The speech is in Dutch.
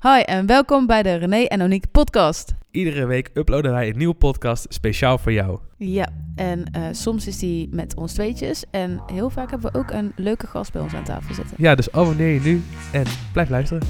Hi en welkom bij de René en Oniek podcast. Iedere week uploaden wij een nieuwe podcast speciaal voor jou. Ja, en eh, soms is die met ons tweetjes. En heel vaak hebben we ook een leuke gast bij ons aan tafel zitten. Ja, dus abonneer je nu en blijf luisteren.